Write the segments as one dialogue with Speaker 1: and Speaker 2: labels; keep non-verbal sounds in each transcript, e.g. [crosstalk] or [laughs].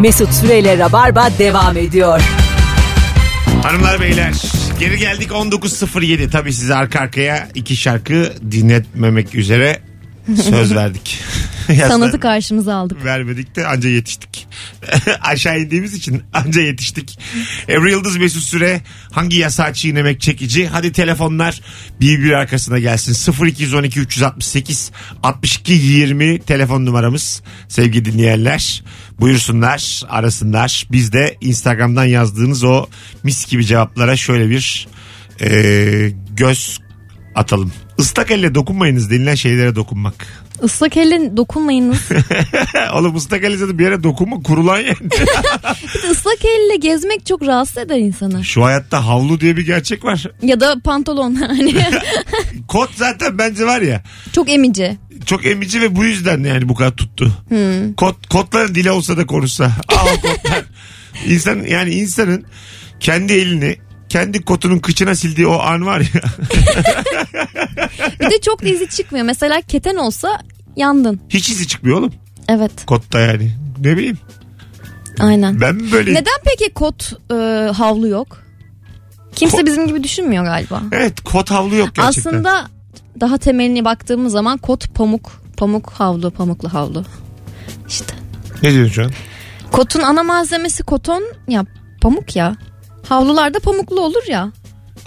Speaker 1: Mesut Süreyle Rabarba devam ediyor.
Speaker 2: Hanımlar beyler geri geldik 19.07 tabii size arka arkaya iki şarkı dinletmemek üzere söz [laughs] verdik. Yazdan
Speaker 3: Sanatı karşımıza aldık.
Speaker 2: vermedik de anca yetiştik. [laughs] Aşağı indiğimiz için anca yetiştik. Ebru Yıldız Mesut Süre hangi yasağı çiğnemek çekici? Hadi telefonlar bir bir arkasına gelsin. 0212 368 62 20 telefon numaramız sevgili dinleyenler. Buyursunlar arasınlar. Biz de Instagram'dan yazdığınız o mis gibi cevaplara şöyle bir eee, göz atalım. Islak elle dokunmayınız denilen şeylere dokunmak.
Speaker 3: Islak elin dokunmayınız.
Speaker 2: [laughs] Oğlum ıslak elle zaten bir yere dokunma kurulan
Speaker 3: [laughs]
Speaker 2: yer.
Speaker 3: Bir de ıslak elle gezmek çok rahatsız eder insanı.
Speaker 2: Şu hayatta havlu diye bir gerçek var.
Speaker 3: Ya da pantolon [laughs] hani
Speaker 2: Kot zaten bence var ya
Speaker 3: çok emici.
Speaker 2: çok emici ve bu yüzden yani bu kadar tuttu.
Speaker 3: Hmm.
Speaker 2: Kot kotların dili olsa da
Speaker 3: [laughs]
Speaker 2: konuşsa. Aa kotlar. İnsan yani insanın kendi elini kendi kotunun kıçına sildiği o an var ya. [laughs]
Speaker 3: Bir de çok da izi çıkmıyor. Mesela keten olsa yandın.
Speaker 2: Hiç izi çıkmıyor oğlum
Speaker 3: Evet
Speaker 2: kotta yani. Ne bileyim
Speaker 3: aynen.
Speaker 2: ben mi böyle?
Speaker 3: Neden peki kot e, havlu yok? Kimse bizim gibi düşünmüyor galiba.
Speaker 2: Evet kot havlu yok gerçekten.
Speaker 3: Aslında daha temeline baktığımız zaman kot pamuk. Pamuk havlu, pamuklu havlu. İşte.
Speaker 2: Ne diyorsun şu an?
Speaker 3: Kotun ana malzemesi koton ya pamuk ya. Havlularda pamuklu olur ya.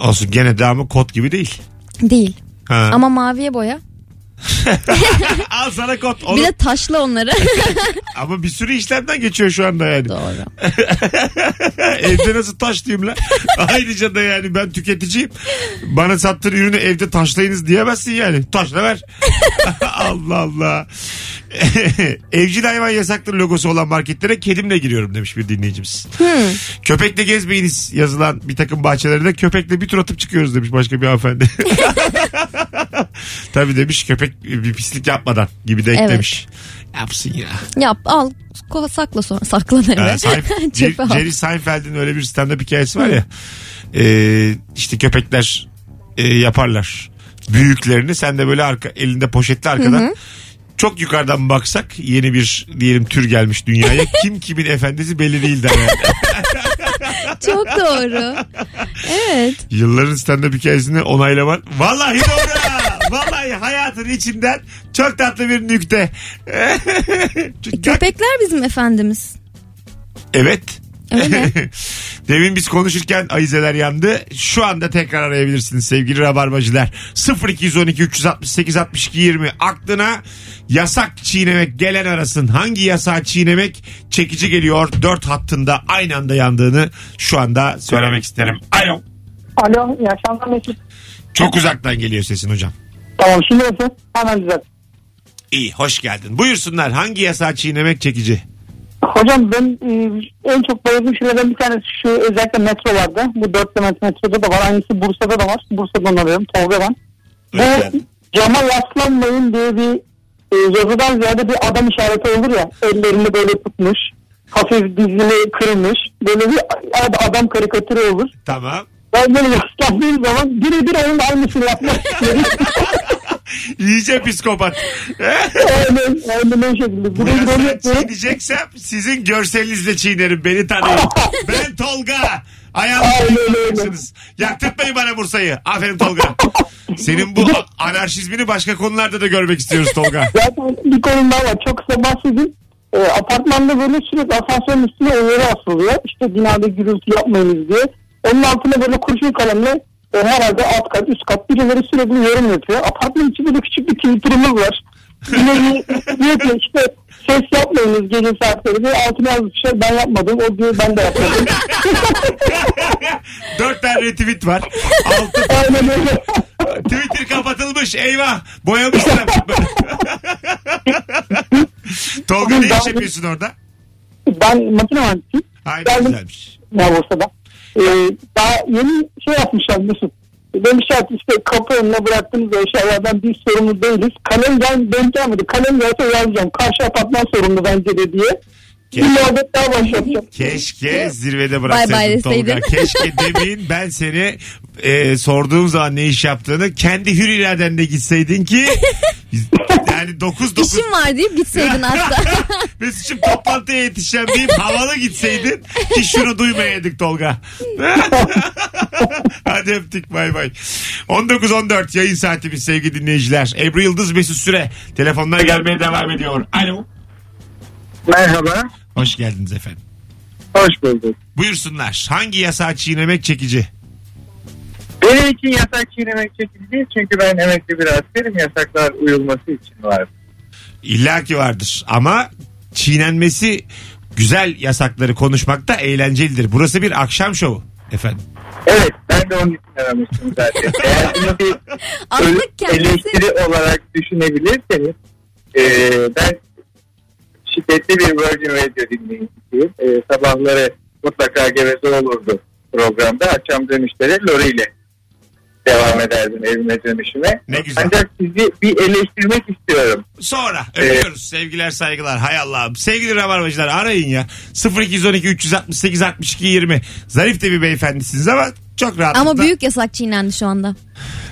Speaker 2: Olsun gene de ama kot gibi değil.
Speaker 3: Değil.
Speaker 2: Ha.
Speaker 3: Ama maviye boya.
Speaker 2: Al sana kot. Oğlum,
Speaker 3: Bir de
Speaker 2: [laughs]
Speaker 3: taşla onları.
Speaker 2: Ama bir sürü işlemden geçiyor şu anda yani.
Speaker 3: Doğru.
Speaker 2: [laughs] evde nasıl taşlayayım lan? Ayrıca da yani ben tüketiciyim. Bana sattığın ürünü evde taşlayınız diyemezsin yani. Taşla ver. [laughs] Allah Allah. [laughs] Evcil hayvan yasaktır logosu olan marketlere kedimle giriyorum demiş bir dinleyicimiz. Köpekle gezmeyiniz yazılan bir takım bahçelerde köpekle bir tur atıp çıkıyoruz demiş başka bir hanımefendi. Tabii demiş köpek bir pislik yapmadan gibi de eklemiş. Yapsın ya.
Speaker 3: [laughs] Yap al ko- sakla sonra. Sakla ne
Speaker 2: Ee,
Speaker 3: be? [laughs]
Speaker 2: Seinf-
Speaker 3: Çöpe
Speaker 2: Jerry,
Speaker 3: al.
Speaker 2: Jerry Seinfeld'in öyle bir stand-up hikayesi var ya. Ee, işte köpekler e, yaparlar büyüklerini. Sen de böyle arka, elinde poşetli arkadan. Çok yukarıdan baksak yeni bir diyelim tür gelmiş dünyaya. Kim kimin efendisi belli değil der yani.
Speaker 3: Çok doğru. Evet.
Speaker 2: Yılların stand-up hikayesini onaylaman. Vallahi doğru. ha. Vallahi hayatın içinden çok tatlı bir nükte. [laughs] Çünkü-
Speaker 3: Köpekler bizim efendimiz.
Speaker 2: Evet. [laughs]
Speaker 3: Öyle.
Speaker 2: Demin biz konuşurken ayizeler yandı. Şu anda tekrar arayabilirsiniz sevgili rabarbacılar. 0212 368 62 20 aklına yasak çiğnemek gelen arasın. Hangi yasağı çiğnemek çekici geliyor? Dört hattında aynı anda yandığını şu anda söylemek isterim. Alo.
Speaker 4: Alo, iyi akşamlar Mesut.
Speaker 2: Çok uzaktan geliyor sesin hocam.
Speaker 4: Tamam, şimdi nasıl? Hemen güzel.
Speaker 2: İyi hoş geldin. Buyursunlar hangi yasağı çiğnemek çekici?
Speaker 4: Hocam ben e, en çok bayıldığım şeylerden bir tanesi şu özellikle metrolarda. Bu dört demet metroda da var. Aynısı Bursa'da da var. Bursa'dan arıyorum. Tolga'dan. Bu
Speaker 2: Hoş geldin.
Speaker 4: cama yaslanmayın diye bir e, yazıdan ziyade bir adam işareti olur ya. Ellerini böyle tutmuş. Hafif dizini kırmış. Böyle bir ad- adam karikatürü olur.
Speaker 2: Tamam. [laughs]
Speaker 4: Ben böyle yaslandığım zaman birebir onun aynısını yapmak istedim.
Speaker 2: İyice psikopat. [laughs]
Speaker 4: aynen, aynen o şekilde.
Speaker 2: Bu
Speaker 4: Birebir onu
Speaker 2: yasağı
Speaker 4: yapıyorum.
Speaker 2: çiğneyeceksem şey sizin görselinizle çiğnerim. Beni
Speaker 4: [laughs]
Speaker 2: tanıyın. ben Tolga.
Speaker 4: Aynen öyle.
Speaker 2: Ayağımsınız. Yaktırtmayın bana Bursa'yı. Aferin Tolga. Senin bu a- anarşizmini başka konularda da görmek istiyoruz Tolga. [laughs]
Speaker 4: Zaten bir konum daha var. Çok kısa bahsedeyim. Ee, apartmanda böyle sürekli asansörün üstüne evleri asılıyor. İşte binada gürültü yapmayınız diye. Onun altına böyle kurşun kalemle e, herhalde alt kat üst kat birileri sürekli yorum yapıyor. Apartmanın içinde de küçük bir Twitter'ımız var. Birileri diyor ki işte ses yapmayınız gece saatleri diye altına yazmışlar ben yapmadım o diyor ben de yapmadım. [laughs]
Speaker 2: Dört tane retweet var. Altı
Speaker 4: Aynen öyle.
Speaker 2: Twitter kapatılmış. Eyvah.
Speaker 4: [laughs]
Speaker 2: Boyamışlar. Tolga ne iş yapıyorsun orada?
Speaker 4: ben makine mühendisiyim.
Speaker 2: Aynen
Speaker 4: Geldim.
Speaker 2: güzelmiş.
Speaker 4: ne olsa da. Ee, daha yeni şey yapmışlar Mesut. Demişler ki işte kapı önüne bıraktığımız eşyalardan biz sorumlu değiliz. Kalem ben denk gelmedi. Kalem gelse yazacağım. Karşı apartman sorumlu bence de diye. Bir
Speaker 2: Keşke.
Speaker 4: muhabbet daha başlatacağım.
Speaker 2: Keşke zirvede
Speaker 3: Bay
Speaker 2: bıraksaydın
Speaker 3: bay
Speaker 2: Tolga.
Speaker 3: deseydin.
Speaker 2: [laughs]
Speaker 3: [laughs]
Speaker 2: Keşke demin ben seni e, sorduğum zaman ne iş yaptığını kendi hür iradenle gitseydin ki Biz, yani 9 9
Speaker 3: İşim var
Speaker 2: [laughs]
Speaker 3: deyip gitseydin aslında.
Speaker 2: Mesut'cum toplantıya yetişeceğim deyip havalı gitseydin ki şunu duymayaydık Tolga. [laughs] Hadi öptük bay bay. 19-14 yayın saatimiz sevgili dinleyiciler. Ebru Yıldız Mesut Süre. Telefonlar gelmeye devam ediyor. Alo.
Speaker 4: Merhaba.
Speaker 2: Hoş geldiniz efendim.
Speaker 4: Hoş bulduk.
Speaker 2: Buyursunlar. Hangi yasağı çiğnemek çekici?
Speaker 4: Benim için yasak çiğnemek çekici değil çünkü ben emekli bir askerim yasaklar uyulması için var.
Speaker 2: İlla ki vardır ama çiğnenmesi güzel yasakları konuşmak da eğlencelidir. Burası bir akşam şovu efendim.
Speaker 4: Evet ben de onun için aramıştım zaten. Eğer bunu bir
Speaker 3: Aslında
Speaker 4: öl-
Speaker 3: kendisi
Speaker 4: eleştiri olarak düşünebilirseniz e, ben şiddetli bir Virgin Radio dinleyicisiyim. E, sabahları mutlaka geveze olurdu programda. Akşam dönüşleri Lori ile devam ederdim evime dönüşüme.
Speaker 2: Ne güzel.
Speaker 4: Ancak sizi bir eleştirmek istiyorum.
Speaker 2: Sonra
Speaker 4: Evet.
Speaker 2: öpüyoruz. Sevgiler saygılar. Hay Allah'ım. Sevgili rabarbacılar arayın ya. 0212 368 62 20. Zarif de bir beyefendisiniz ama çok rahat.
Speaker 3: ama büyük yasak çiğnendi şu anda.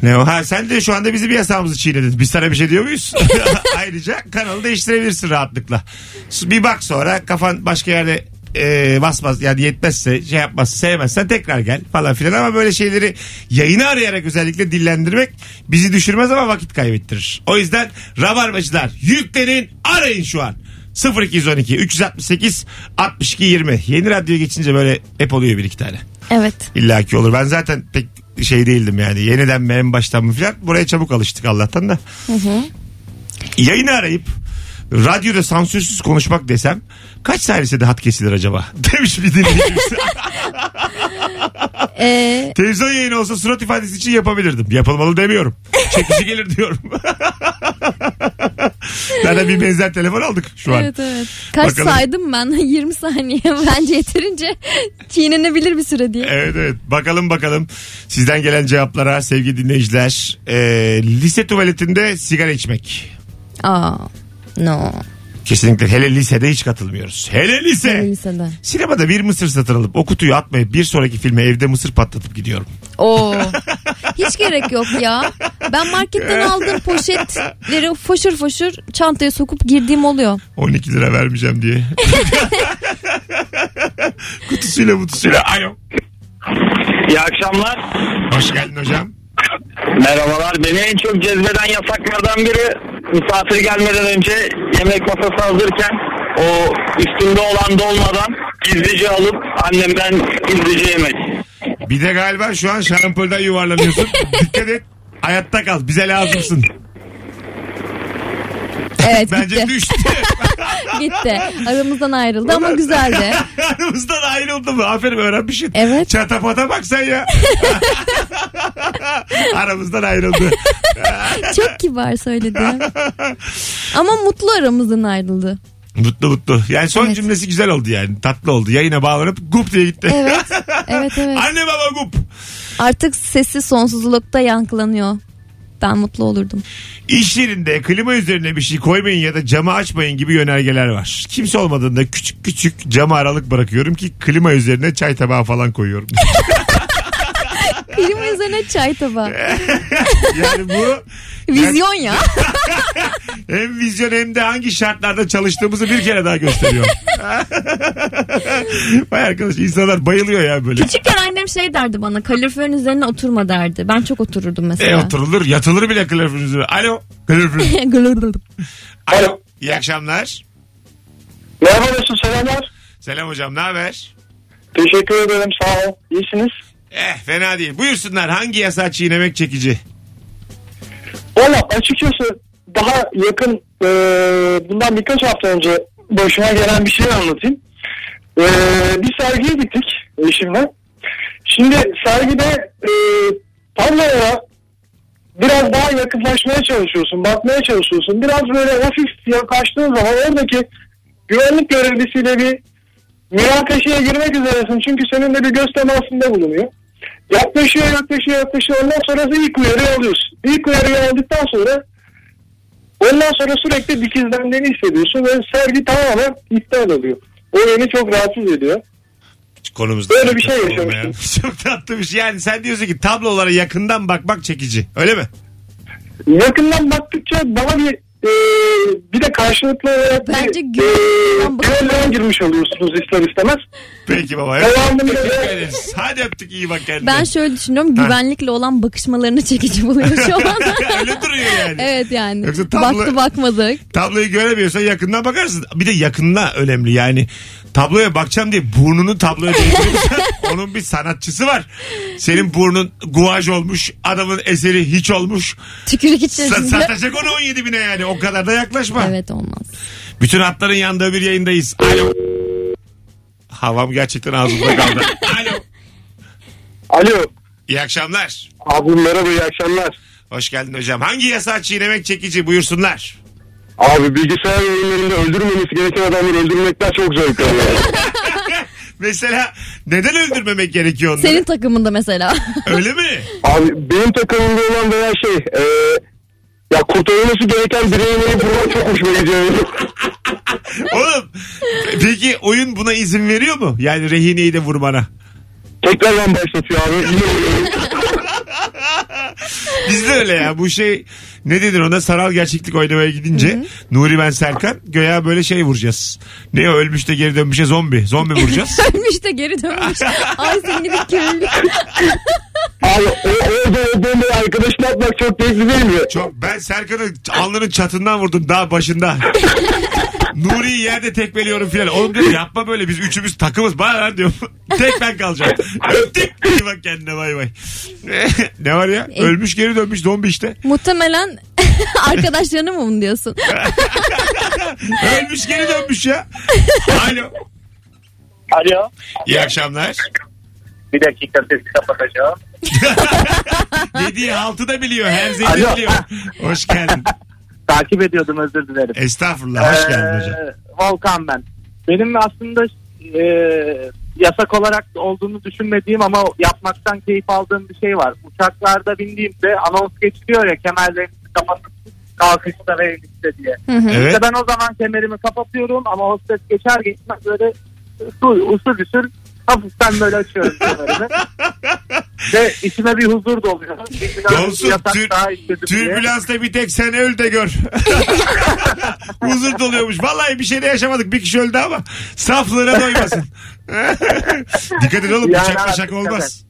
Speaker 2: Ne o? Ha, sen de şu anda bizim yasağımızı çiğnedin. Biz sana bir şey diyor muyuz? [laughs] Ayrıca kanalı değiştirebilirsin rahatlıkla. Bir bak sonra kafan başka yerde e, basmaz yani yetmezse şey yapmaz sevmezsen tekrar gel falan filan ama böyle şeyleri yayını arayarak özellikle dillendirmek bizi düşürmez ama vakit kaybettirir. O yüzden rabarbacılar yüklenin arayın şu an. 0212 368 62 20 yeni radyoya geçince böyle hep oluyor bir iki tane.
Speaker 3: Evet.
Speaker 2: İlla ki olur. Ben zaten pek şey değildim yani. Yeniden mi en baştan mı filan. Buraya çabuk alıştık Allah'tan da. Yayını arayıp radyoda sansürsüz konuşmak desem kaç saniyede hat kesilir acaba? [laughs] Demiş bir
Speaker 3: [laughs]
Speaker 2: dinleyicimiz.
Speaker 3: Ee,
Speaker 2: Televizyon yayını olsa surat ifadesi için yapabilirdim. Yapılmalı demiyorum. Çekici gelir diyorum. [laughs] Zaten bir benzer telefon aldık şu an.
Speaker 3: evet evet. Kaç
Speaker 2: Bakalım.
Speaker 3: saydım ben? [laughs] 20 saniye bence yeterince çiğnenebilir bir süre diye.
Speaker 2: Evet evet bakalım bakalım sizden gelen cevaplara sevgili dinleyiciler. Ee, lise tuvaletinde sigara içmek.
Speaker 3: Aa. No.
Speaker 2: Kesinlikle hele lisede hiç katılmıyoruz. Hele lise.
Speaker 3: Hele lisede.
Speaker 2: Sinemada bir mısır satın alıp o kutuyu atmayıp bir sonraki filme evde mısır patlatıp gidiyorum.
Speaker 3: Oo. Hiç gerek yok ya. Ben marketten aldığım poşetleri foşur foşur çantaya sokup girdiğim oluyor.
Speaker 2: 12 lira vermeyeceğim diye. [laughs] kutusuyla mutusuyla. Alo.
Speaker 5: İyi akşamlar.
Speaker 2: Hoş geldin hocam.
Speaker 5: Merhabalar. Beni en çok cezbeden yasaklardan biri misafir gelmeden önce yemek masası hazırken o üstünde olan dolmadan gizlice alıp annemden gizlice yemek.
Speaker 2: Bir de galiba şu an şarampolden
Speaker 3: [laughs]
Speaker 2: yuvarlanıyorsun. Dikkat et. Hayatta kal. Bize lazımsın.
Speaker 3: Evet
Speaker 2: Bence
Speaker 3: gitti. [laughs]
Speaker 2: düştü.
Speaker 3: gitti. Aramızdan ayrıldı ama güzeldi.
Speaker 2: [laughs] Aramızdan ayrıldı mı? Aferin öğrenmişsin.
Speaker 3: Evet.
Speaker 2: Çatapata bak sen
Speaker 3: [laughs]
Speaker 2: ya. [laughs] Aramızdan ayrıldı.
Speaker 3: Çok kibar söyledi. Ama mutlu aramızdan ayrıldı.
Speaker 2: Mutlu mutlu. Yani son
Speaker 3: Evet.
Speaker 2: cümlesi güzel oldu yani. Tatlı oldu. Yayına bağlanıp gup diye gitti.
Speaker 3: Evet. Evet
Speaker 2: [laughs]
Speaker 3: evet.
Speaker 2: Anne baba gup.
Speaker 3: Artık sesi sonsuzlukta yankılanıyor. Ben mutlu olurdum.
Speaker 2: İş yerinde klima üzerine bir şey koymayın ya da camı açmayın gibi yönergeler var. Kimse olmadığında küçük küçük cama aralık bırakıyorum ki klima üzerine çay tabağı falan koyuyorum. [laughs]
Speaker 3: Klima üzerine çay tabağı.
Speaker 2: yani bu
Speaker 3: Vizyon ya.
Speaker 2: hem vizyon hem de hangi şartlarda çalıştığımızı bir kere daha gösteriyor. [laughs] Vay arkadaş insanlar bayılıyor ya böyle. E,
Speaker 3: Küçükken annem şey derdi bana kaloriferin üzerine oturma derdi. Ben çok otururdum
Speaker 2: E
Speaker 3: mesela.
Speaker 2: oturulur yatılır bile kaloriferin üzerine. Alo. Kalorifer.
Speaker 3: [laughs] Gülürdüm.
Speaker 2: Alo. İyi akşamlar.
Speaker 4: Merhaba Mesut selamlar.
Speaker 2: Selam hocam ne haber?
Speaker 4: Teşekkür ederim sağ ol. İyisiniz.
Speaker 2: Eh fena değil. Buyursunlar hangi yasa çiğnemek çekici?
Speaker 4: Valla açıkçası daha yakın e, bundan birkaç hafta önce başıma gelen bir şey anlatayım. E, bir sergiye gittik eşimle. Şimdi sergide e, tabloya biraz daha yakınlaşmaya çalışıyorsun, bakmaya çalışıyorsun. Biraz böyle hafif yaklaştığın zaman oradaki güvenlik görevlisiyle bir münakaşaya girmek üzeresin. Çünkü senin de bir göz temasında bulunuyor. Yaklaşıyor yaklaşıyor yaklaşıyor. Ondan sonrası ilk uyarıyı alıyorsun. İlk uyarıyı aldıktan sonra ondan sonra sürekli dikizlendiğini hissediyorsun ve sergi tamamen iptal oluyor. O beni çok rahatsız ediyor.
Speaker 2: Konumuzda.
Speaker 4: Böyle bir şey
Speaker 2: Olmayan. [laughs]
Speaker 4: yaşamıştım.
Speaker 2: Çok tatlı bir şey. Yani sen diyorsun ki tablolara yakından bakmak çekici. Öyle mi?
Speaker 4: Yakından baktıkça bana bir e, bir de karşılıklı olarak
Speaker 3: Bence
Speaker 4: bir
Speaker 3: güvenlikten bakın.
Speaker 4: güvenliğe girmiş oluyorsunuz ister istemez.
Speaker 2: Peki baba.
Speaker 4: Devamında
Speaker 2: Teşekkür
Speaker 4: da
Speaker 2: ederiz. Hadi öptük iyi bak kendine. [laughs]
Speaker 3: Ben şöyle düşünüyorum güvenlikle olan bakışmalarını çekici buluyorum şu an.
Speaker 2: [laughs] Öyle duruyor yani.
Speaker 3: [laughs] evet yani.
Speaker 2: Yoksa tablo-
Speaker 3: Baktı bakmadı.
Speaker 2: Tabloyu göremiyorsan yakından bakarsın. Bir de yakında önemli yani. Tabloya bakacağım diye burnunu tabloya
Speaker 3: [laughs]
Speaker 2: değdiriyorsan onun bir sanatçısı var. Senin burnun guaj olmuş. Adamın eseri hiç olmuş.
Speaker 3: Tükürük
Speaker 2: Sa-
Speaker 3: içerisinde.
Speaker 2: satacak onu 17 bine yani. O kadar da yaklaşma.
Speaker 3: Evet olmaz.
Speaker 2: Bütün hatların yandığı bir yayındayız. Alo. Havam gerçekten ağzımda kaldı. Alo.
Speaker 5: Alo.
Speaker 2: İyi akşamlar.
Speaker 5: Abi merhaba iyi akşamlar.
Speaker 2: Hoş geldin hocam. Hangi yasağı çiğnemek çekici buyursunlar. [laughs]
Speaker 5: Abi bilgisayar oyunlarında öldürmemesi gereken adamları öldürmekten çok zevk alıyorum.
Speaker 2: Mesela neden öldürmemek gerekiyor onları?
Speaker 3: Senin takımında mesela. [laughs]
Speaker 2: Öyle mi?
Speaker 5: Abi benim takımımda olan veya şey e, ya kurtarılması gereken bireyin oyun kurmak çok hoşuma gidiyor.
Speaker 2: Oğlum peki oyun buna izin veriyor mu? Yani rehineyi de vurmana.
Speaker 5: Tekrardan başlatıyor abi. Yine oynuyorum.
Speaker 2: Bizde öyle ya bu şey ne denir ona saral gerçeklik oynamaya gidince Nuri ben Serkan göya böyle şey vuracağız. Ne o, ölmüş de geri dönmüşe zombi. Zombi vuracağız.
Speaker 3: Dönmüş de geri dönmüş. Ay seni bir kirlilik. [laughs]
Speaker 5: Abi o, orada olduğumda arkadaşını atmak çok keyifli değil mi?
Speaker 2: Çok ben Serkan'ı alnının çatından vurdum daha başında. Nuri'yi yerde tekmeliyorum filan. Oğlum diyor yapma böyle biz üçümüz takımız bana ver diyorum. [laughs] Tek ben kalacağım. Öptük. İyi bak kendine bay bay. [laughs] ne var ya? Ölmüş geri dönmüş zombi işte.
Speaker 3: Muhtemelen [laughs] arkadaşlarını mı bunu diyorsun?
Speaker 2: Ölmüş geri dönmüş ya. Alo.
Speaker 6: Alo.
Speaker 2: İyi akşamlar. [laughs]
Speaker 6: Bir dakika sesi kapatacağım.
Speaker 2: Yediği haltı da biliyor. Her zeydi
Speaker 6: Alo.
Speaker 2: biliyor. Hoş geldin.
Speaker 6: Takip ediyordum özür dilerim.
Speaker 2: Estağfurullah. E, Hoş geldin
Speaker 6: Ee,
Speaker 2: hocam.
Speaker 6: Volkan ben. Benim aslında e, yasak olarak olduğunu düşünmediğim ama yapmaktan keyif aldığım bir şey var. Uçaklarda bindiğimde anons geçiliyor ya kemerlerinizi kapatın kalkışta ve inişte diye.
Speaker 2: Evet.
Speaker 6: İşte ben o zaman kemerimi kapatıyorum ama hostes geçer geçmez böyle usul usul usul hafiften böyle
Speaker 2: [laughs]
Speaker 6: açıyorum kemerimi. ve içime bir huzur doluyor. Bir
Speaker 2: Olsun.
Speaker 6: yasak
Speaker 2: Tür-
Speaker 6: daha işledim diye.
Speaker 2: Türbülansta bir tek sen öl de gör. [laughs] Huzur doluyormuş. Vallahi bir şey de yaşamadık. Bir kişi öldü ama saflığına doymasın. [laughs] Dikkat et oğlum.
Speaker 6: Yani
Speaker 2: bıçak
Speaker 6: abi,
Speaker 2: bıçak
Speaker 6: dikkat
Speaker 2: olmaz.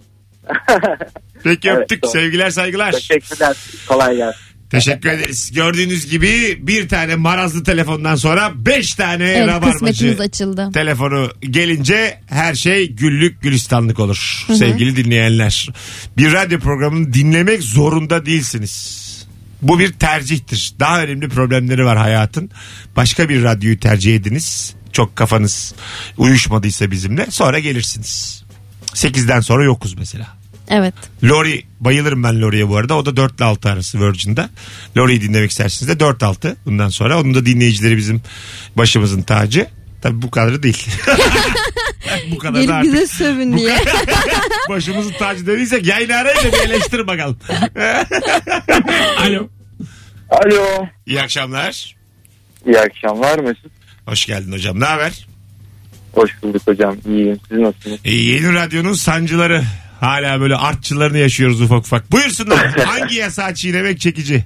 Speaker 2: Peki
Speaker 6: Evet,
Speaker 2: öptük.
Speaker 6: doğru.
Speaker 2: Sevgiler saygılar.
Speaker 6: [laughs] Teşekkürler. Kolay gelsin.
Speaker 2: Teşekkür ederiz. Gördüğünüz gibi bir tane marazlı telefondan sonra beş tane
Speaker 3: evet
Speaker 2: rabarbacı
Speaker 3: kısmetimiz açıldı.
Speaker 2: telefonu gelince her şey güllük gülistanlık olur. Sevgili dinleyenler. Bir radyo programını dinlemek zorunda değilsiniz. Bu bir tercihtir. Daha önemli problemleri var hayatın. Başka bir radyoyu tercih ediniz. Çok kafanız uyuşmadıysa bizimle sonra gelirsiniz. 8'den sonra yokuz mesela.
Speaker 3: Evet.
Speaker 2: Lori bayılırım ben Lori'ye bu arada. O da 4 ile 6 arası Virgin'da. Lori'yi dinlemek isterseniz de 4 6 bundan sonra. Onun da dinleyicileri bizim başımızın tacı. Tabii bu kadarı değil. [laughs] bu kadar da
Speaker 3: Gelip
Speaker 2: artık.
Speaker 3: bize sövün diye.
Speaker 2: [laughs] Başımızın tacı dediysek yayını arayın da bir eleştir [laughs] bakalım. Alo.
Speaker 5: Alo.
Speaker 2: İyi akşamlar.
Speaker 5: İyi akşamlar Mesut.
Speaker 2: Hoş geldin hocam. Ne haber?
Speaker 5: Hoş bulduk hocam. İyiyim. Siz nasılsınız?
Speaker 2: Ee, yeni radyonun sancıları. Hala böyle artçılarını yaşıyoruz ufak ufak. Buyursunlar. Hangi yasağı çiğnemek çekici?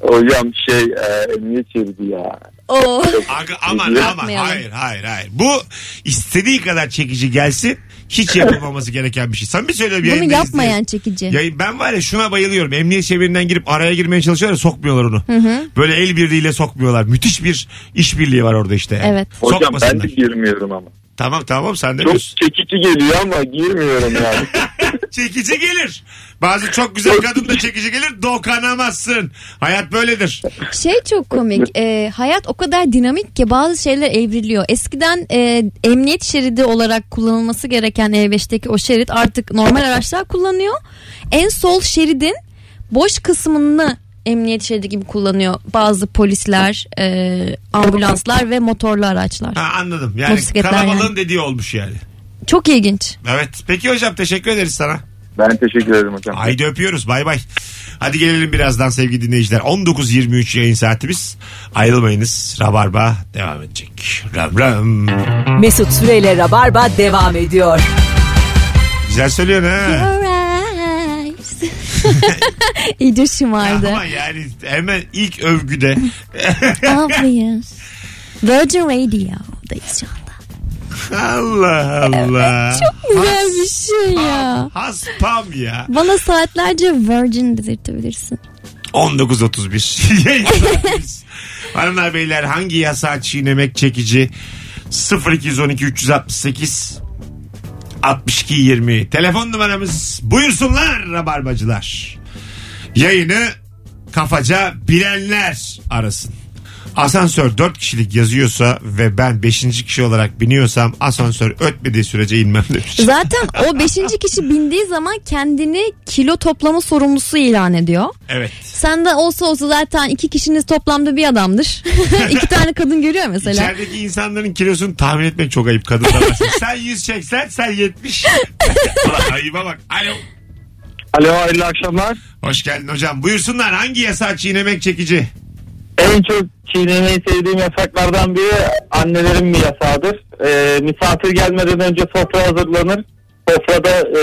Speaker 5: Hocam şey e, emniyet şeridi ya.
Speaker 2: [laughs]
Speaker 3: Oo.
Speaker 2: Aga, aman aman
Speaker 3: Yapmayalım.
Speaker 2: hayır hayır hayır. Bu istediği kadar çekici gelsin hiç yapılmaması gereken bir şey. Sen bir söyle bir
Speaker 3: Bunu yapmayan çekici.
Speaker 2: Yayın, ben var ya şuna bayılıyorum. Emniyet şebirinden girip araya girmeye çalışıyorlar ya, sokmuyorlar onu. Böyle el birliğiyle sokmuyorlar. Müthiş bir işbirliği var orada işte. yani.
Speaker 3: Evet.
Speaker 5: Hocam ben
Speaker 2: Sokmasınlar.
Speaker 5: de girmiyorum ama.
Speaker 2: Tamam tamam sen de
Speaker 5: Çok
Speaker 2: biliyorsun.
Speaker 5: çekici geliyor ama girmiyorum [laughs] yani.
Speaker 2: [laughs] Çekici gelir. Bazı çok güzel kadın da çekici gelir. Dokanamazsın. Hayat böyledir.
Speaker 3: Şey çok komik. e, hayat o kadar dinamik ki bazı şeyler evriliyor. Eskiden e, emniyet şeridi olarak kullanılması gereken E5'teki o şerit artık normal araçlar kullanıyor. En sol şeridin boş kısmını emniyet şeridi gibi kullanıyor bazı polisler, e, ambulanslar ve motorlu araçlar.
Speaker 2: Ha, anladım. Yani
Speaker 3: Motosikletler
Speaker 2: kalabalığın
Speaker 3: yani.
Speaker 2: dediği olmuş yani.
Speaker 3: Çok ilginç. [laughs]
Speaker 2: Evet. Peki hocam teşekkür ederiz sana.
Speaker 5: ben teşekkür ederim hocam.
Speaker 2: Haydi öpüyoruz bay bay. Hadi gelelim birazdan sevgili dinleyiciler. 19.23 yayın saatimiz. Ayrılmayınız. Rabarba devam edecek. Ram ram.
Speaker 1: Mesut Süreyle Rabarba devam ediyor.
Speaker 2: Güzel söylüyorsun ha.
Speaker 3: Alright. İyice şımardı.
Speaker 2: Ama yani hemen ilk övgüde
Speaker 3: Obvious. Virgin Radio'dayız şu anda.
Speaker 2: [laughs] Allah Allah.
Speaker 3: Çok güzel bir şey ya.
Speaker 2: Haspam ya.
Speaker 3: Bana saatlerce Virgin dedirtebilirsin.
Speaker 2: [laughs] 19.31 yayındayız. Hanımlar beyler hangi yasa çiğnemek çekici 0212 368 62 20 telefon numaramız buyursunlar rabarbacılar yayını kafaca bilenler arasın asansör 4 kişilik yazıyorsa ve ben 5. kişi olarak biniyorsam asansör ötmediği sürece inmem demiş.
Speaker 3: Zaten o beşinci kişi bindiği zaman kendini kilo toplama sorumlusu ilan ediyor.
Speaker 2: Evet.
Speaker 3: Sen de olsa olsa zaten iki kişiniz toplamda bir adamdır. [laughs] iki tane kadın görüyor mesela.
Speaker 2: İçerideki insanların kilosunu tahmin etmek çok ayıp kadınlar.
Speaker 3: [laughs]
Speaker 2: varsa. sen 100 çeksen sen 70. [laughs] Ulan ayıba bak. Alo.
Speaker 5: Alo hayırlı akşamlar.
Speaker 2: Hoş geldin hocam. Buyursunlar hangi yasa çiğnemek çekici?
Speaker 5: En çok çiğnemeyi sevdiğim yasaklardan biri annelerin bir yasağıdır. Ee, misafir gelmeden önce sofra hazırlanır. Sofrada e,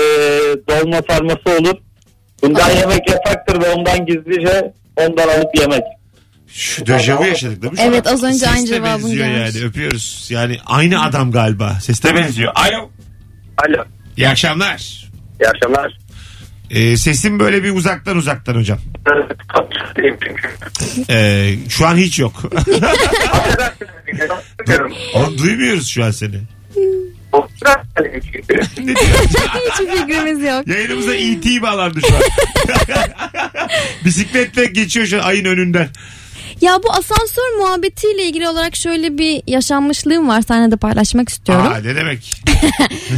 Speaker 5: dolma sarması olur. Bundan yemek yasaktır ve ondan gizlice ondan alıp yemek.
Speaker 2: Şu dejavu yaşadık değil mi? şu
Speaker 3: Evet,
Speaker 2: an?
Speaker 3: az önce
Speaker 2: Ses de
Speaker 3: aynı cevabını
Speaker 2: benziyor
Speaker 3: görmüş.
Speaker 2: yani öpüyoruz. Yani aynı adam galiba. Seste benziyor. Alo.
Speaker 5: Alo.
Speaker 2: İyi akşamlar.
Speaker 5: İyi akşamlar.
Speaker 2: Ee, sesim böyle bir uzaktan uzaktan hocam. Ee, şu an hiç yok. [laughs] Oğlum, duymuyoruz şu an seni. Ne diyor?
Speaker 3: [laughs] Hiçbir fikrimiz yok.
Speaker 2: Yayınımıza E.T. bağlandı şu an. [laughs] Bisikletle geçiyor şu an ayın önünden.
Speaker 3: Ya bu asansör muhabbetiyle ilgili olarak şöyle bir yaşanmışlığım var. Sana da paylaşmak istiyorum.
Speaker 2: Aa, ne demek?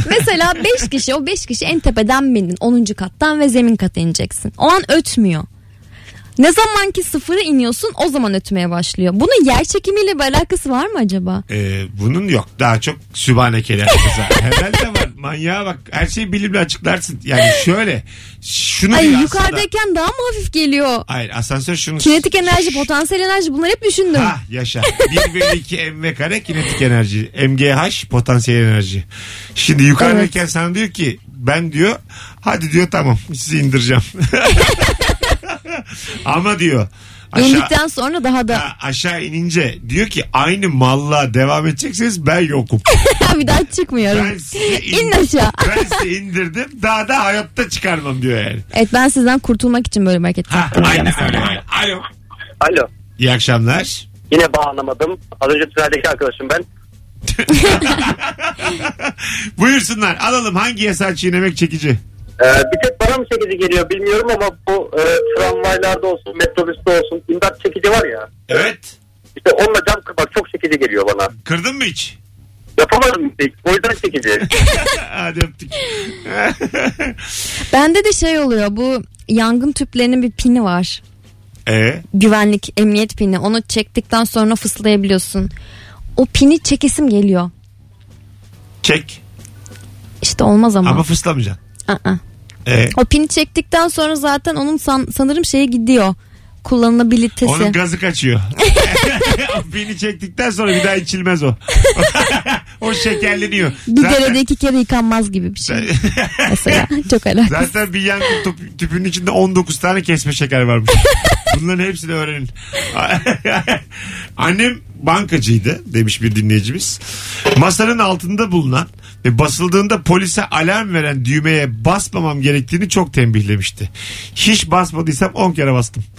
Speaker 3: Mesela 5 kişi o 5 kişi en tepeden bindin 10. kattan ve zemin kata ineceksin. O an ötmüyor. Ne zaman ki sıfıra iniyorsun o zaman ötmeye başlıyor. Bunun yer çekimiyle bir alakası var mı acaba?
Speaker 2: Ee, bunun yok. Daha çok sübhanekeli herkese.
Speaker 3: [laughs]
Speaker 2: Herhalde var. Manyağa bak. Her şeyi bilimle açıklarsın. Yani şöyle. Şunu
Speaker 3: Ay
Speaker 2: diyor aslında-
Speaker 3: yukarıdayken daha mı hafif geliyor?
Speaker 2: Hayır asansör şunu.
Speaker 3: Kinetik enerji, potansiyel enerji bunları hep düşündüm.
Speaker 2: Ha yaşa. 1 bölü 2 mv kare kinetik enerji. MGH potansiyel enerji. Şimdi yukarıdayken sana diyor ki ben diyor hadi diyor tamam sizi indireceğim. [laughs] Ama diyor aşağı,
Speaker 3: İndikten sonra daha da
Speaker 2: Ha, aşağı inince diyor ki aynı malla devam edecekseniz ben yokum.
Speaker 3: [laughs] bir daha çıkmıyorum.
Speaker 2: Ben sizi,
Speaker 3: İn aşağı.
Speaker 2: ben sizi indirdim daha da hayatta çıkarmam diyor yani.
Speaker 3: Evet ben sizden kurtulmak için böyle bir hareket
Speaker 2: Ha,
Speaker 3: yaptım.
Speaker 2: aynen öyle. Alo.
Speaker 5: Alo.
Speaker 2: İyi akşamlar. [laughs]
Speaker 5: Yine bağlamadım. Az önce tünerdeki arkadaşım ben.
Speaker 2: Buyursunlar alalım hangi yasal çiğnemek çekici?
Speaker 5: Ee, bir tek bana mı çekici geliyor bilmiyorum ama bu e, tramvaylarda olsun, metrobüste olsun imdat çekici var ya.
Speaker 2: Evet.
Speaker 5: İşte onunla cam kırmak çok çekici geliyor bana.
Speaker 2: Kırdın mı hiç? [laughs]
Speaker 5: Yapamadım hiç. O yüzden [laughs] çekici.
Speaker 2: Hadi öptük. [laughs]
Speaker 3: Bende de şey oluyor bu yangın tüplerinin bir pini var.
Speaker 2: Ee,
Speaker 3: güvenlik emniyet pini onu çektikten sonra fısıldayabiliyorsun. O pini çekesim geliyor.
Speaker 2: çek
Speaker 3: İşte olmaz ama.
Speaker 2: ama fıslamayacaksın.
Speaker 3: Aa.
Speaker 2: Ee,
Speaker 3: O pini çektikten sonra zaten onun san- sanırım şeye gidiyor. Kullanılabilitesi.
Speaker 2: onun gazı kaçıyor. [laughs] O Beni çektikten sonra bir daha içilmez o. [laughs] o şekerleniyor.
Speaker 3: bir
Speaker 2: Zaten-
Speaker 3: derede iki kere yıkanmaz gibi
Speaker 2: [laughs]
Speaker 3: bir şey. Mesela çok alakalı.
Speaker 2: Zaten bir yangın tüp- tüpünün içinde 19 tane kesme şeker varmış. Bunların hepsini öğrenin. [laughs] Annem bankacıydı demiş bir dinleyicimiz. Masanın altında bulunan ve basıldığında polise alarm veren düğmeye basmamam gerektiğini çok tembihlemişti. Hiç basmadıysam 10 kere bastım. [laughs]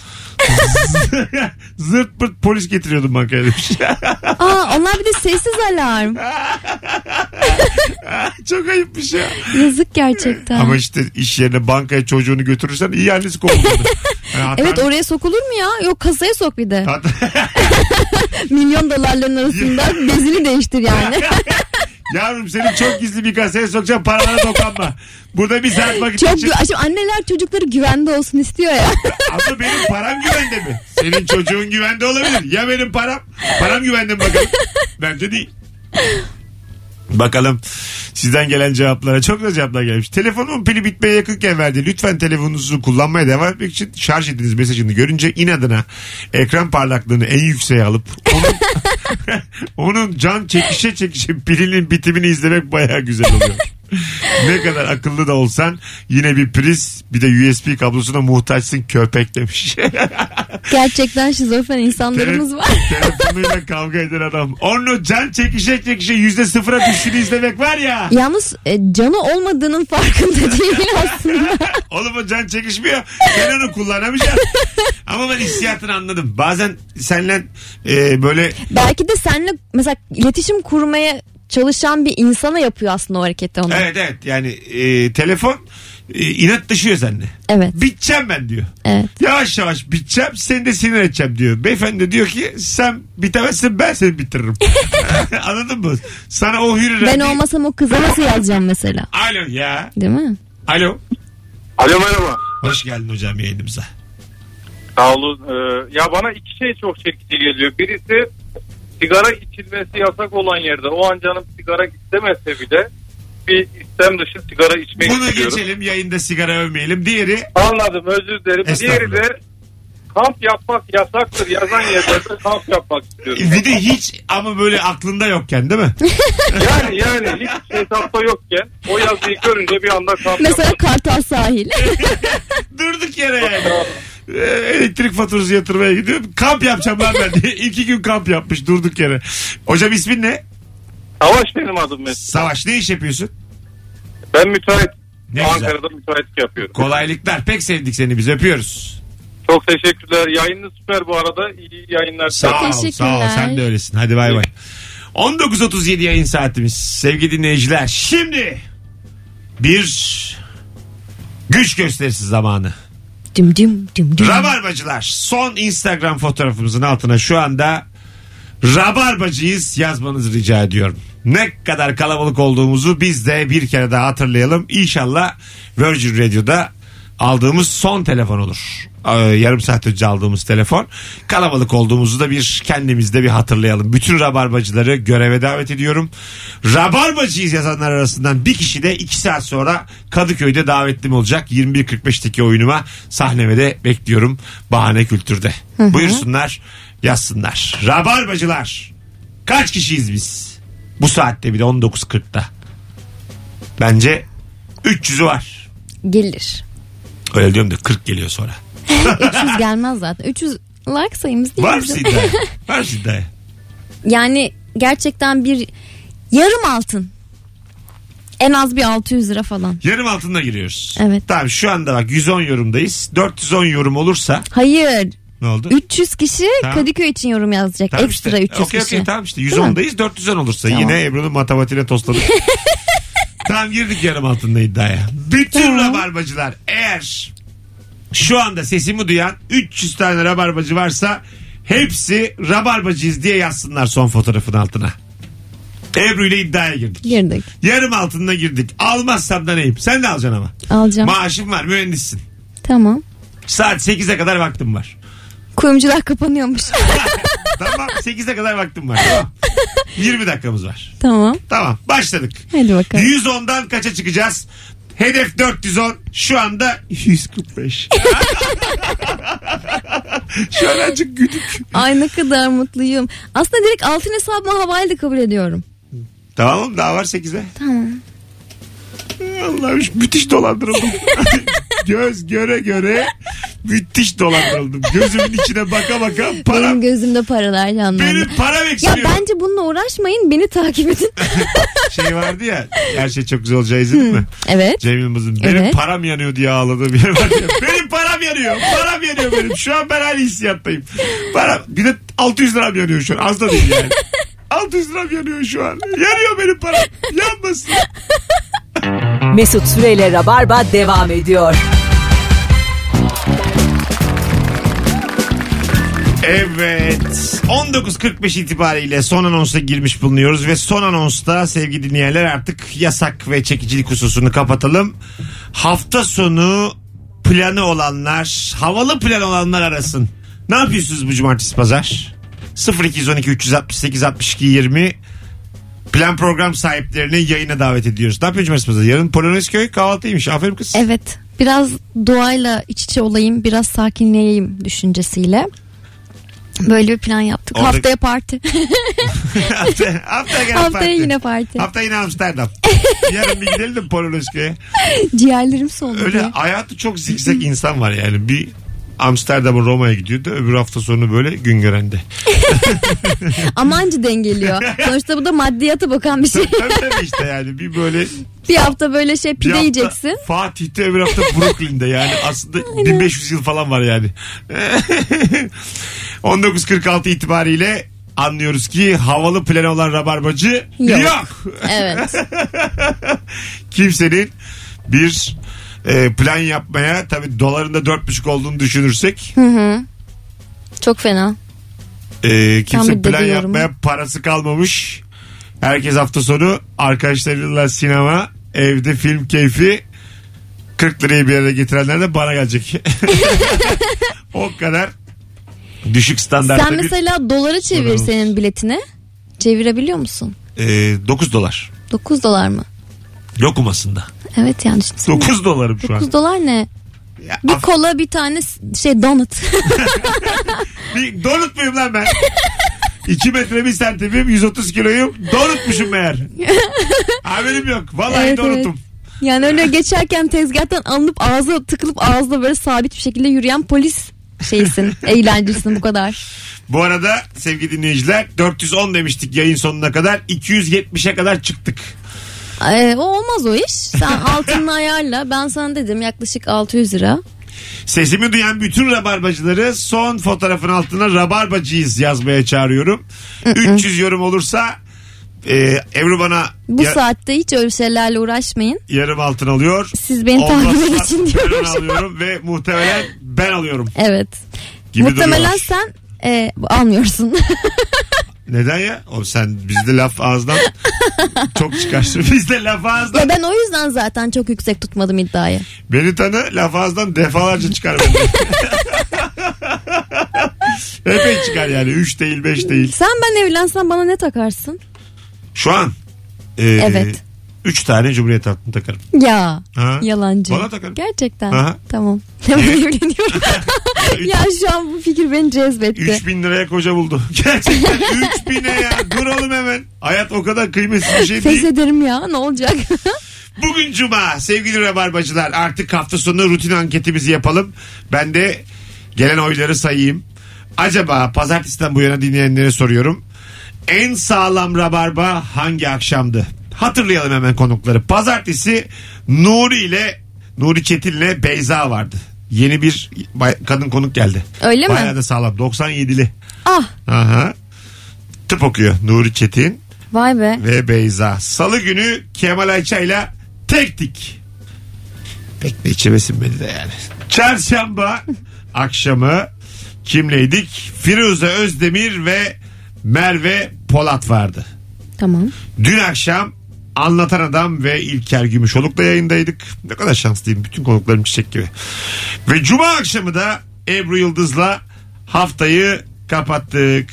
Speaker 2: Zırt pırt polis getiriyordum bankaya demiş. [laughs]
Speaker 3: Aa, onlar bir de sessiz alarm.
Speaker 2: çok ayıpmış ya.
Speaker 3: Yazık gerçekten.
Speaker 2: Ama işte iş yerine bankaya çocuğunu götürürsen iyi annesi kovulmadı. Yani
Speaker 3: Evet
Speaker 2: hatan-
Speaker 3: oraya sokulur mu ya? Yok kasaya sok bir de.
Speaker 2: hatan-
Speaker 3: Milyon dolarların arasında
Speaker 2: [laughs]
Speaker 3: bezini değiştir yani.
Speaker 2: Yavrum seni çok gizli bir kasaya sokacağım paralara dokanma. Burada bir saat vakit
Speaker 3: Çok
Speaker 2: geçir.
Speaker 3: gü- Şimdi anneler çocukları güvende olsun istiyor ya.
Speaker 2: Ama benim param güvende mi? Senin çocuğun güvende olabilir. Ya benim param? Param güvende mi bakalım? Bence değil. Bakalım sizden gelen cevaplara çok da cevaplar gelmiş. Telefonumun pili bitmeye yakınken verdi. Lütfen telefonunuzu kullanmaya devam etmek için şarj ediniz mesajını görünce inadına ekran parlaklığını en yükseğe alıp onun, [laughs] onun can çekişe çekişe pilinin bitimini izlemek baya güzel oluyor. ne kadar akıllı da olsan yine bir priz bir de USB kablosuna muhtaçsın köpek
Speaker 3: [laughs]
Speaker 2: demiş.
Speaker 3: Gerçekten şizofren insanlarımız var.
Speaker 2: Telefonuyla kavga eden adam. Onu can çekişe çekişe yüzde sıfıra düşüşünü izlemek var
Speaker 3: [laughs]
Speaker 2: ya.
Speaker 3: Yalnız e, canı olmadığının farkında [laughs] değil aslında.
Speaker 2: Oğlum o can çekişmiyor. Sen onu kullanamayacaksın. Ama ben hissiyatını anladım. Bazen senle e, böyle
Speaker 3: Belki de seninle mesela iletişim kurmaya çalışan bir insana yapıyor aslında o hareketi onu.
Speaker 2: evet evet yani e, telefon e, inatlaşıyor seninle.
Speaker 3: Evet.
Speaker 2: Biteceğim ben diyor.
Speaker 3: Evet.
Speaker 2: Yavaş yavaş biteceğim seni de sinir edeceğim diyor. Beyefendi de diyor ki sen bitemezsin ben seni bitiririm. [laughs] Anladın mı? Sana o hürriyetle.
Speaker 3: Ben olmasam o kıza nasıl yazacağım mesela?
Speaker 2: Alo ya.
Speaker 3: Değil mi?
Speaker 2: Alo.
Speaker 7: Alo merhaba.
Speaker 2: Hoş geldin hocam yayınımıza.
Speaker 7: Sağ olun. Ee, ya bana iki şey çok çekici geliyor. Birisi sigara içilmesi yasak olan yerde o an canım sigara istemese bile bir istem dışı sigara içmek
Speaker 2: Bunu
Speaker 7: istiyorum.
Speaker 2: geçelim yayında sigara övmeyelim. Diğeri
Speaker 7: Anladım özür dilerim.
Speaker 2: Estağfurullah.
Speaker 7: Diğeri de kamp yapmak yasaktır. Yazan yerlerde kamp yapmak istiyorum.
Speaker 2: bir de hiç ama böyle aklında yokken değil mi?
Speaker 7: Yani yani hiç hesapta yokken o yazıyı görünce bir anda kamp
Speaker 3: Mesela
Speaker 7: yapmak
Speaker 3: Kartal Sahil.
Speaker 2: Durduk yere yani. Ee, Elektrik faturası yatırmaya gidiyorum. Kamp yapacağım lan ben diye. İki gün kamp yapmış durduk yere. Hocam ismin ne?
Speaker 7: Savaş benim adım mesela.
Speaker 2: Savaş ne iş yapıyorsun?
Speaker 7: Ben müteahhit.
Speaker 2: Ne güzel.
Speaker 7: Ankara'da müteahhitlik yapıyorum.
Speaker 2: Kolaylıklar. Pek sevdik seni biz öpüyoruz.
Speaker 7: Çok teşekkürler. Yayınınız süper bu arada. İyi yayınlar.
Speaker 2: Sağ ol,
Speaker 3: Teşekkürler.
Speaker 2: sağ ol. Sen de öylesin. Hadi bay bay. 19.37 yayın saatimiz. Sevgili dinleyiciler şimdi bir güç gösterisi zamanı.
Speaker 3: Dim dim dim dim.
Speaker 2: Rabarbacılar son Instagram fotoğrafımızın altına şu anda Rabarbacıyız yazmanızı rica ediyorum. Ne kadar kalabalık olduğumuzu biz de bir kere daha hatırlayalım. İnşallah Virgin Radio'da aldığımız son telefon olur. Ee, yarım saat önce aldığımız telefon. Kalabalık olduğumuzu da bir kendimizde bir hatırlayalım. Bütün rabarbacıları göreve davet ediyorum. Rabarbacıyız yazanlar arasından bir kişi de 2 saat sonra Kadıköy'de davetlim olacak. 21.45'teki oyunuma sahneme de bekliyorum. Bahane Kültür'de. Buyursunlar yazsınlar. Rabarbacılar kaç kişiyiz biz? Bu saatte bile 19.40'da. Bence 300'ü var.
Speaker 3: Gelir.
Speaker 2: Öyle diyorum da 40 geliyor sonra.
Speaker 3: 300 gelmez zaten. 300 like sayımız değil
Speaker 2: Var
Speaker 3: bizim.
Speaker 2: mısın iddiaya? Var mısın iddiaya?
Speaker 3: Yani gerçekten bir yarım altın. En az bir 600 lira falan.
Speaker 2: Yarım altında giriyoruz.
Speaker 3: Evet.
Speaker 2: Tamam şu anda bak 110 yorumdayız. 410 yorum olursa
Speaker 3: Hayır.
Speaker 2: ne oldu?
Speaker 3: 300 kişi
Speaker 2: Tamam.
Speaker 3: Kadıköy için yorum yazacak.
Speaker 2: Tamam
Speaker 3: Ekstra
Speaker 2: işte.
Speaker 3: 300
Speaker 2: Okey,
Speaker 3: kişi.
Speaker 2: okey, tamam işte
Speaker 3: mi?
Speaker 2: 110'dayız 410 olursa
Speaker 3: Tamam.
Speaker 2: yine Ebru'nun matematiğine
Speaker 3: [laughs]
Speaker 2: tosladık. tamam girdik yarım altında iddiaya. Bütün
Speaker 3: Tamam.
Speaker 2: rabarbacılar eğer şu anda sesimi duyan 300 tane rabarbacı varsa hepsi rabarbacıyız diye yazsınlar son fotoğrafın altına. Ebru ile iddiaya girdik.
Speaker 3: Girdik.
Speaker 2: Yarım altında girdik. Almazsam da neyim? Sen de alacaksın ama.
Speaker 3: Alacağım.
Speaker 2: Maaşım var mühendissin.
Speaker 3: tamam.
Speaker 2: Saat 8'e kadar vaktim
Speaker 3: [laughs]
Speaker 2: var.
Speaker 3: Kuyumcular kapanıyormuş.
Speaker 2: tamam 8'e kadar vaktim var.
Speaker 3: [laughs]
Speaker 2: Tamam. 20 dakikamız var.
Speaker 3: tamam.
Speaker 2: [laughs] Tamam başladık.
Speaker 3: Hadi bakalım.
Speaker 2: 110'dan kaça çıkacağız? Hedef 410 şu anda 145.
Speaker 3: [laughs]
Speaker 2: şu an azıcık güdük.
Speaker 3: [laughs] Ay ne kadar mutluyum. Aslında direkt altın hesabımı havayla da kabul ediyorum.
Speaker 2: Tamam oğlum, daha var 8'e.
Speaker 3: Tamam.
Speaker 2: Allah'ım şu müthiş dolandırıldım. [laughs] Göz göre göre müthiş dolandırıldım. Gözümün içine baka baka para.
Speaker 3: Benim gözümde paralar canlandı.
Speaker 2: Benim şey- param
Speaker 3: Ya
Speaker 2: eksiliyor.
Speaker 3: bence bununla uğraşmayın beni takip
Speaker 2: [laughs]
Speaker 3: edin.
Speaker 2: Şey vardı ya her şey çok güzel olacağı izledin
Speaker 3: Hmm.
Speaker 2: mi?
Speaker 3: evet.
Speaker 2: Cem Yılmaz'ın benim
Speaker 3: Evet.
Speaker 2: param yanıyor diye ağladığı bir [laughs] yer var ya. benim param yanıyor. Param yanıyor benim. Şu an ben aynı hissiyattayım. Param. Bir de 600 liram yanıyor şu an. Az da değil yani.
Speaker 3: [laughs]
Speaker 2: 600 liram yanıyor şu an. Yanıyor benim param. Yanmasın.
Speaker 1: Mesut Süreyle Rabarba devam ediyor.
Speaker 2: Evet. 19.45 itibariyle son anonsa girmiş bulunuyoruz ve son anonsta sevgili dinleyenler artık yasak ve çekicilik hususunu kapatalım. Hafta sonu planı olanlar, havalı plan olanlar arasın. Ne yapıyorsunuz bu cumartesi pazar? 0212 368 62 20 plan program sahiplerini yayına davet ediyoruz. Ne yapıyorsun cumartesi pazar? Yarın Polonezköy kahvaltıymış. Aferin kız.
Speaker 3: Evet. Biraz doğayla iç içe olayım, biraz sakinleyeyim düşüncesiyle. Böyle bir plan yaptık.
Speaker 2: Orada-
Speaker 3: Haftaya parti.
Speaker 2: Hafta, hafta gene
Speaker 3: [laughs] Haftaya
Speaker 2: parti.
Speaker 3: yine parti.
Speaker 2: Hafta yine
Speaker 3: [laughs]
Speaker 2: Amsterdam. Yarın bir gidelim de Polonezköy'e.
Speaker 3: Ciğerlerim soldu
Speaker 2: Öyle
Speaker 3: diye.
Speaker 2: hayatı çok zikzak insan var yani. Bir Amsterdam'ın Roma'ya gidiyordu. Öbür hafta sonu böyle Güngören'de. [laughs]
Speaker 3: Amancı dengeliyor. Sonuçta bu da maddiyata bakan bir şey.
Speaker 2: Tabii tabii işte yani bir böyle
Speaker 3: bir hafta böyle şey
Speaker 2: bir
Speaker 3: pide
Speaker 2: hafta
Speaker 3: yiyeceksin.
Speaker 2: Fatih'te öbür hafta Brooklyn'de yani aslında 1500 yıl falan var yani. [laughs] 1946 itibariyle anlıyoruz ki havalı planı olan rabarbacı yok.
Speaker 3: Yok.
Speaker 2: [laughs]
Speaker 3: Evet.
Speaker 2: Kimsenin bir e, plan yapmaya tabii dolarında 4,5 olduğunu düşünürsek
Speaker 3: Hı hı. Çok fena.
Speaker 2: e, kimse
Speaker 3: Tam bir
Speaker 2: plan
Speaker 3: dediği
Speaker 2: yapmaya parası kalmamış. Herkes hafta sonu arkadaşlarıyla sinema, evde film keyfi 40 lirayı bir yere getirenler de bana
Speaker 3: [laughs]
Speaker 2: gelecek. o kadar düşük standartta
Speaker 3: Sen mesela dolara çevir
Speaker 2: Dolarımız.
Speaker 3: senin biletini. Çevirebiliyor musun?
Speaker 2: bir e, 9 dolar.
Speaker 3: 9 dolar mı?
Speaker 2: Lokum aslında.
Speaker 3: Evet yani düşünsene.
Speaker 2: 9 dolarım şu an.
Speaker 3: 9 dolar ne?
Speaker 2: Ya,
Speaker 3: Bir
Speaker 2: af-
Speaker 3: kola bir tane s- şey donut. [laughs]
Speaker 2: bir donut muyum lan ben? 2 metre bir santimim 130 kiloyum donutmuşum
Speaker 3: [laughs]
Speaker 2: meğer. Haberim yok. Vallahi
Speaker 3: Evet, evet.
Speaker 2: donutum.
Speaker 3: yani öyle geçerken tezgahtan alınıp ağza tıkılıp ağızla böyle sabit bir şekilde yürüyen polis
Speaker 2: [laughs]
Speaker 3: şeysin. eğlencelisin bu kadar.
Speaker 2: Bu arada sevgili dinleyiciler 410 demiştik yayın sonuna kadar 270'e kadar çıktık.
Speaker 3: Ee, o olmaz o iş. Sen altını ayarla. Ben sana dedim yaklaşık 600 lira.
Speaker 2: Sesimi duyan bütün rabarbacıları son fotoğrafın altına rabarbacıyız yazmaya çağırıyorum. 300 yorum olursa e, Ebru bana
Speaker 3: Bu
Speaker 2: ya-
Speaker 3: saatte hiç öyle şeylerle uğraşmayın.
Speaker 2: yarım altın alıyor.
Speaker 3: Siz beni takip edin
Speaker 2: Olmazsa
Speaker 3: için
Speaker 2: ben
Speaker 3: diyorum.
Speaker 2: alıyorum ve muhtemelen ben alıyorum
Speaker 3: Evet.
Speaker 2: gibi
Speaker 3: Muhtemelen
Speaker 2: duruyor.
Speaker 3: sen e, almıyorsun. [laughs]
Speaker 2: Neden ya? O sen bizde laf
Speaker 3: [laughs]
Speaker 2: ağızdan çok çıkarsın. Bizde laf ağızdan.
Speaker 3: ya ben o yüzden zaten çok yüksek tutmadım iddiayı.
Speaker 2: Beni tanı laf ağızdan defalarca çıkar.
Speaker 3: [laughs]
Speaker 2: bence. Epey çıkar yani. 3 değil 5 değil.
Speaker 3: Sen ben evlensen bana ne takarsın?
Speaker 2: Şu an. E,
Speaker 3: Evet.
Speaker 2: 3 tane Cumhuriyet altını takarım.
Speaker 3: Ya.
Speaker 2: Ha?
Speaker 3: Yalancı.
Speaker 2: Bana takarım.
Speaker 3: Gerçekten.
Speaker 2: Aha.
Speaker 3: Tamam. [laughs] Hemen evleniyorum. [laughs]
Speaker 2: [laughs]
Speaker 3: ya şu an bu fikir beni cezbetti.
Speaker 2: 3000 liraya koca buldu. [laughs] Gerçekten 3000'e ya. Dur oğlum hemen. Hayat o kadar kıymetli bir şey
Speaker 3: Fes
Speaker 2: değil.
Speaker 3: ederim ya ne olacak? [laughs]
Speaker 2: Bugün cuma sevgili rabarbacılar artık hafta sonu rutin anketimizi yapalım. Ben de gelen oyları sayayım. Acaba pazartesiden bu yana dinleyenlere soruyorum. En sağlam rabarba hangi akşamdı? Hatırlayalım hemen konukları. Pazartesi Nuri ile Nuri Çetin ile Beyza vardı. Yeni bir bay- kadın konuk geldi.
Speaker 3: Öyle mi?
Speaker 2: Bayağı da sağlam. 97'li.
Speaker 3: ah
Speaker 2: Aha. Tıp okuyor Nuri Çetin
Speaker 3: vay be.
Speaker 2: ve Beyza. Salı günü Kemal Ayça ile tek dik. Pek de içime sinmedi de yani. Çarşamba akşamı kimleydik? Firuze Özdemir ve Merve Polat vardı.
Speaker 3: Tamam.
Speaker 2: Dün akşam Anlatan Adam ve İlker Gümüşoluk'la yayındaydık. Ne kadar şanslıyım. Bütün konuklarım çiçek gibi. Ve Cuma akşamı da Ebru Yıldız'la haftayı kapattık.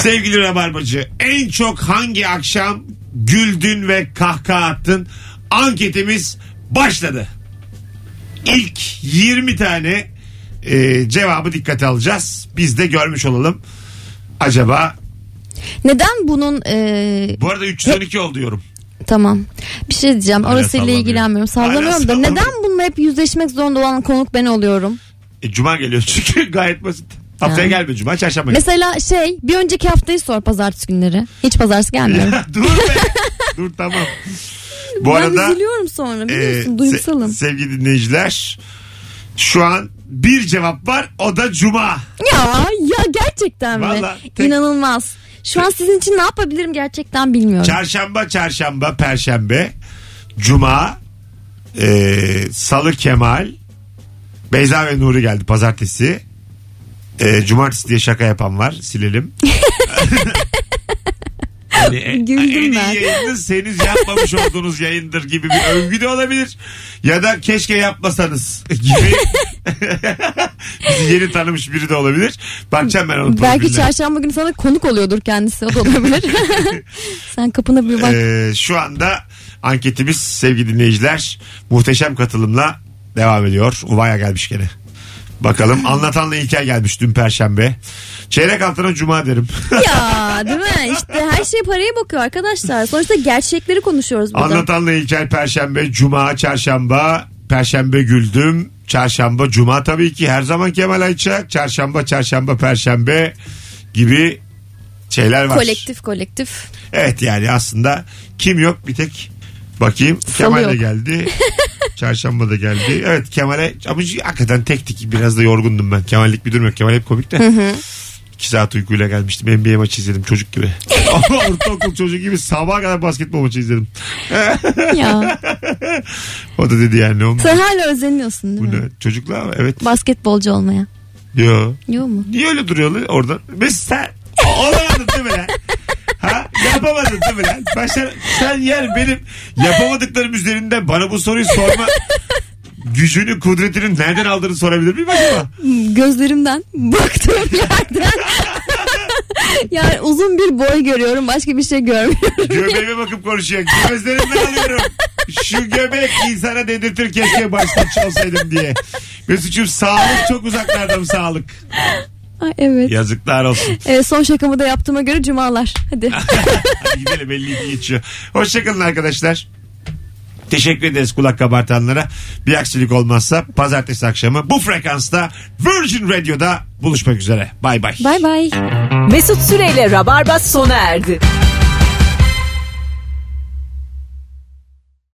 Speaker 2: Sevgili Rabarbacı en çok hangi akşam güldün ve kahkaha attın? Anketimiz başladı. İlk 20 tane e, cevabı dikkate alacağız. Biz de görmüş olalım. Acaba
Speaker 3: Neden bunun e,
Speaker 2: bu arada 312 oldu yorum.
Speaker 3: tamam bir şey diyeceğim
Speaker 2: Hala
Speaker 3: orasıyla
Speaker 2: sallamıyor.
Speaker 3: ilgilenmiyorum
Speaker 2: Hala
Speaker 3: sallamıyorum da
Speaker 2: sallamıyor.
Speaker 3: neden bununla hep yüzleşmek zorunda olan konuk
Speaker 2: [laughs]
Speaker 3: ben oluyorum?
Speaker 2: E, cuma geliyor [laughs] çünkü gayet basit. Haftaya
Speaker 3: Ha.
Speaker 2: gelme cuma çarşamba gel.
Speaker 3: Mesela şey bir önceki haftayı sor pazartesi günleri. Hiç pazartesi gelmiyorum.
Speaker 2: Dur be. Dur tamam. [laughs] Bu
Speaker 3: ben
Speaker 2: arada
Speaker 3: üzülüyorum sonra
Speaker 2: e,
Speaker 3: biliyorsun
Speaker 2: se-
Speaker 3: duygusalım.
Speaker 2: sevgili dinleyiciler şu an bir cevap var o da cuma.
Speaker 3: Ya ya gerçekten mi?
Speaker 2: Vallahi tek-
Speaker 3: İnanılmaz. Şu an sizin için ne yapabilirim gerçekten bilmiyorum.
Speaker 2: Çarşamba çarşamba perşembe cuma e, salı Kemal Beyza ve Nuri geldi pazartesi. E, cumartesi diye şaka yapan var
Speaker 3: [laughs]
Speaker 2: silelim. Yani e-
Speaker 3: Güldüm
Speaker 2: en iyi
Speaker 3: ben.
Speaker 2: yayınınız henüz yapmamış olduğunuz yayındır gibi bir övgü de olabilir. Ya da keşke yapmasanız gibi.
Speaker 3: [laughs]
Speaker 2: [laughs] Bizi yeni tanımış biri de olabilir. Bakacağım ben onun
Speaker 3: Belki
Speaker 2: profiline.
Speaker 3: çarşamba günü sana konuk oluyordur kendisi. O da olabilir.
Speaker 2: [laughs]
Speaker 3: [laughs] Sen kapına bir bak.
Speaker 2: Ee, şu anda anketimiz sevgili dinleyiciler muhteşem katılımla devam ediyor. Uvaya gelmiş gene. Bakalım anlatanla İlker gelmiş dün perşembe. Çeyrek altına cuma derim.
Speaker 3: ya değil mi? İşte her şey paraya bakıyor arkadaşlar. Sonuçta gerçekleri konuşuyoruz burada.
Speaker 2: Anlatanla İlker perşembe, cuma, çarşamba, perşembe güldüm. Çarşamba, cuma tabii ki her zaman Kemal Ayça. Çarşamba, çarşamba, perşembe gibi şeyler var.
Speaker 3: Kolektif
Speaker 2: [laughs]
Speaker 3: kolektif.
Speaker 2: Evet yani aslında kim yok bir tek bakayım. Kemal
Speaker 3: yok.
Speaker 2: de geldi. Çarşamba da geldi. Evet Kemal'e ama hakikaten tek tek biraz da yorgundum ben. Kemal'lik bir durum yok. Kemal hep komik de. İki saat uykuyla gelmiştim. NBA maçı izledim çocuk gibi. Ortaokul çocuk gibi sabaha kadar basketbol maçı izledim.
Speaker 3: ya.
Speaker 2: O da dedi yani ne olmuş.
Speaker 3: Sen hala özeniyorsun değil
Speaker 2: Bu
Speaker 3: mi?
Speaker 2: ne? Çocuklar mı? Evet.
Speaker 3: Basketbolcu olmaya.
Speaker 2: Yo.
Speaker 3: Yok mu?
Speaker 2: Niye öyle duruyorlar orada? Mesela sen olamadın değil mi lan? Ha? Yapamadın değil mi lan? Başar, sen yer benim yapamadıklarım üzerinden bana bu soruyu sorma gücünü, kudretini nereden aldığını sorabilir miyim acaba?
Speaker 3: Gözlerimden [laughs] baktığım yerden. yani uzun bir boy görüyorum. Başka bir şey görmüyorum.
Speaker 2: Göbeğime bakıp konuşuyor. Gözlerimden alıyorum. Şu göbek insana dedirtir keşke başkaç olsaydım diye. Mesut'cum sağlık çok uzaklardan sağlık.
Speaker 3: Ay, evet.
Speaker 2: Yazıklar olsun.
Speaker 3: Evet, son şakamı da yaptığıma göre cumalar. Hadi.
Speaker 2: Hadi gidelim 52 geçiyor. Hoşçakalın arkadaşlar. Teşekkür ederiz kulak kabartanlara. Bir aksilik olmazsa pazartesi akşamı bu frekansta Virgin Radio'da buluşmak üzere. Bay bay.
Speaker 3: Bay bay.
Speaker 1: Mesut Süreyle Rabarba sona erdi.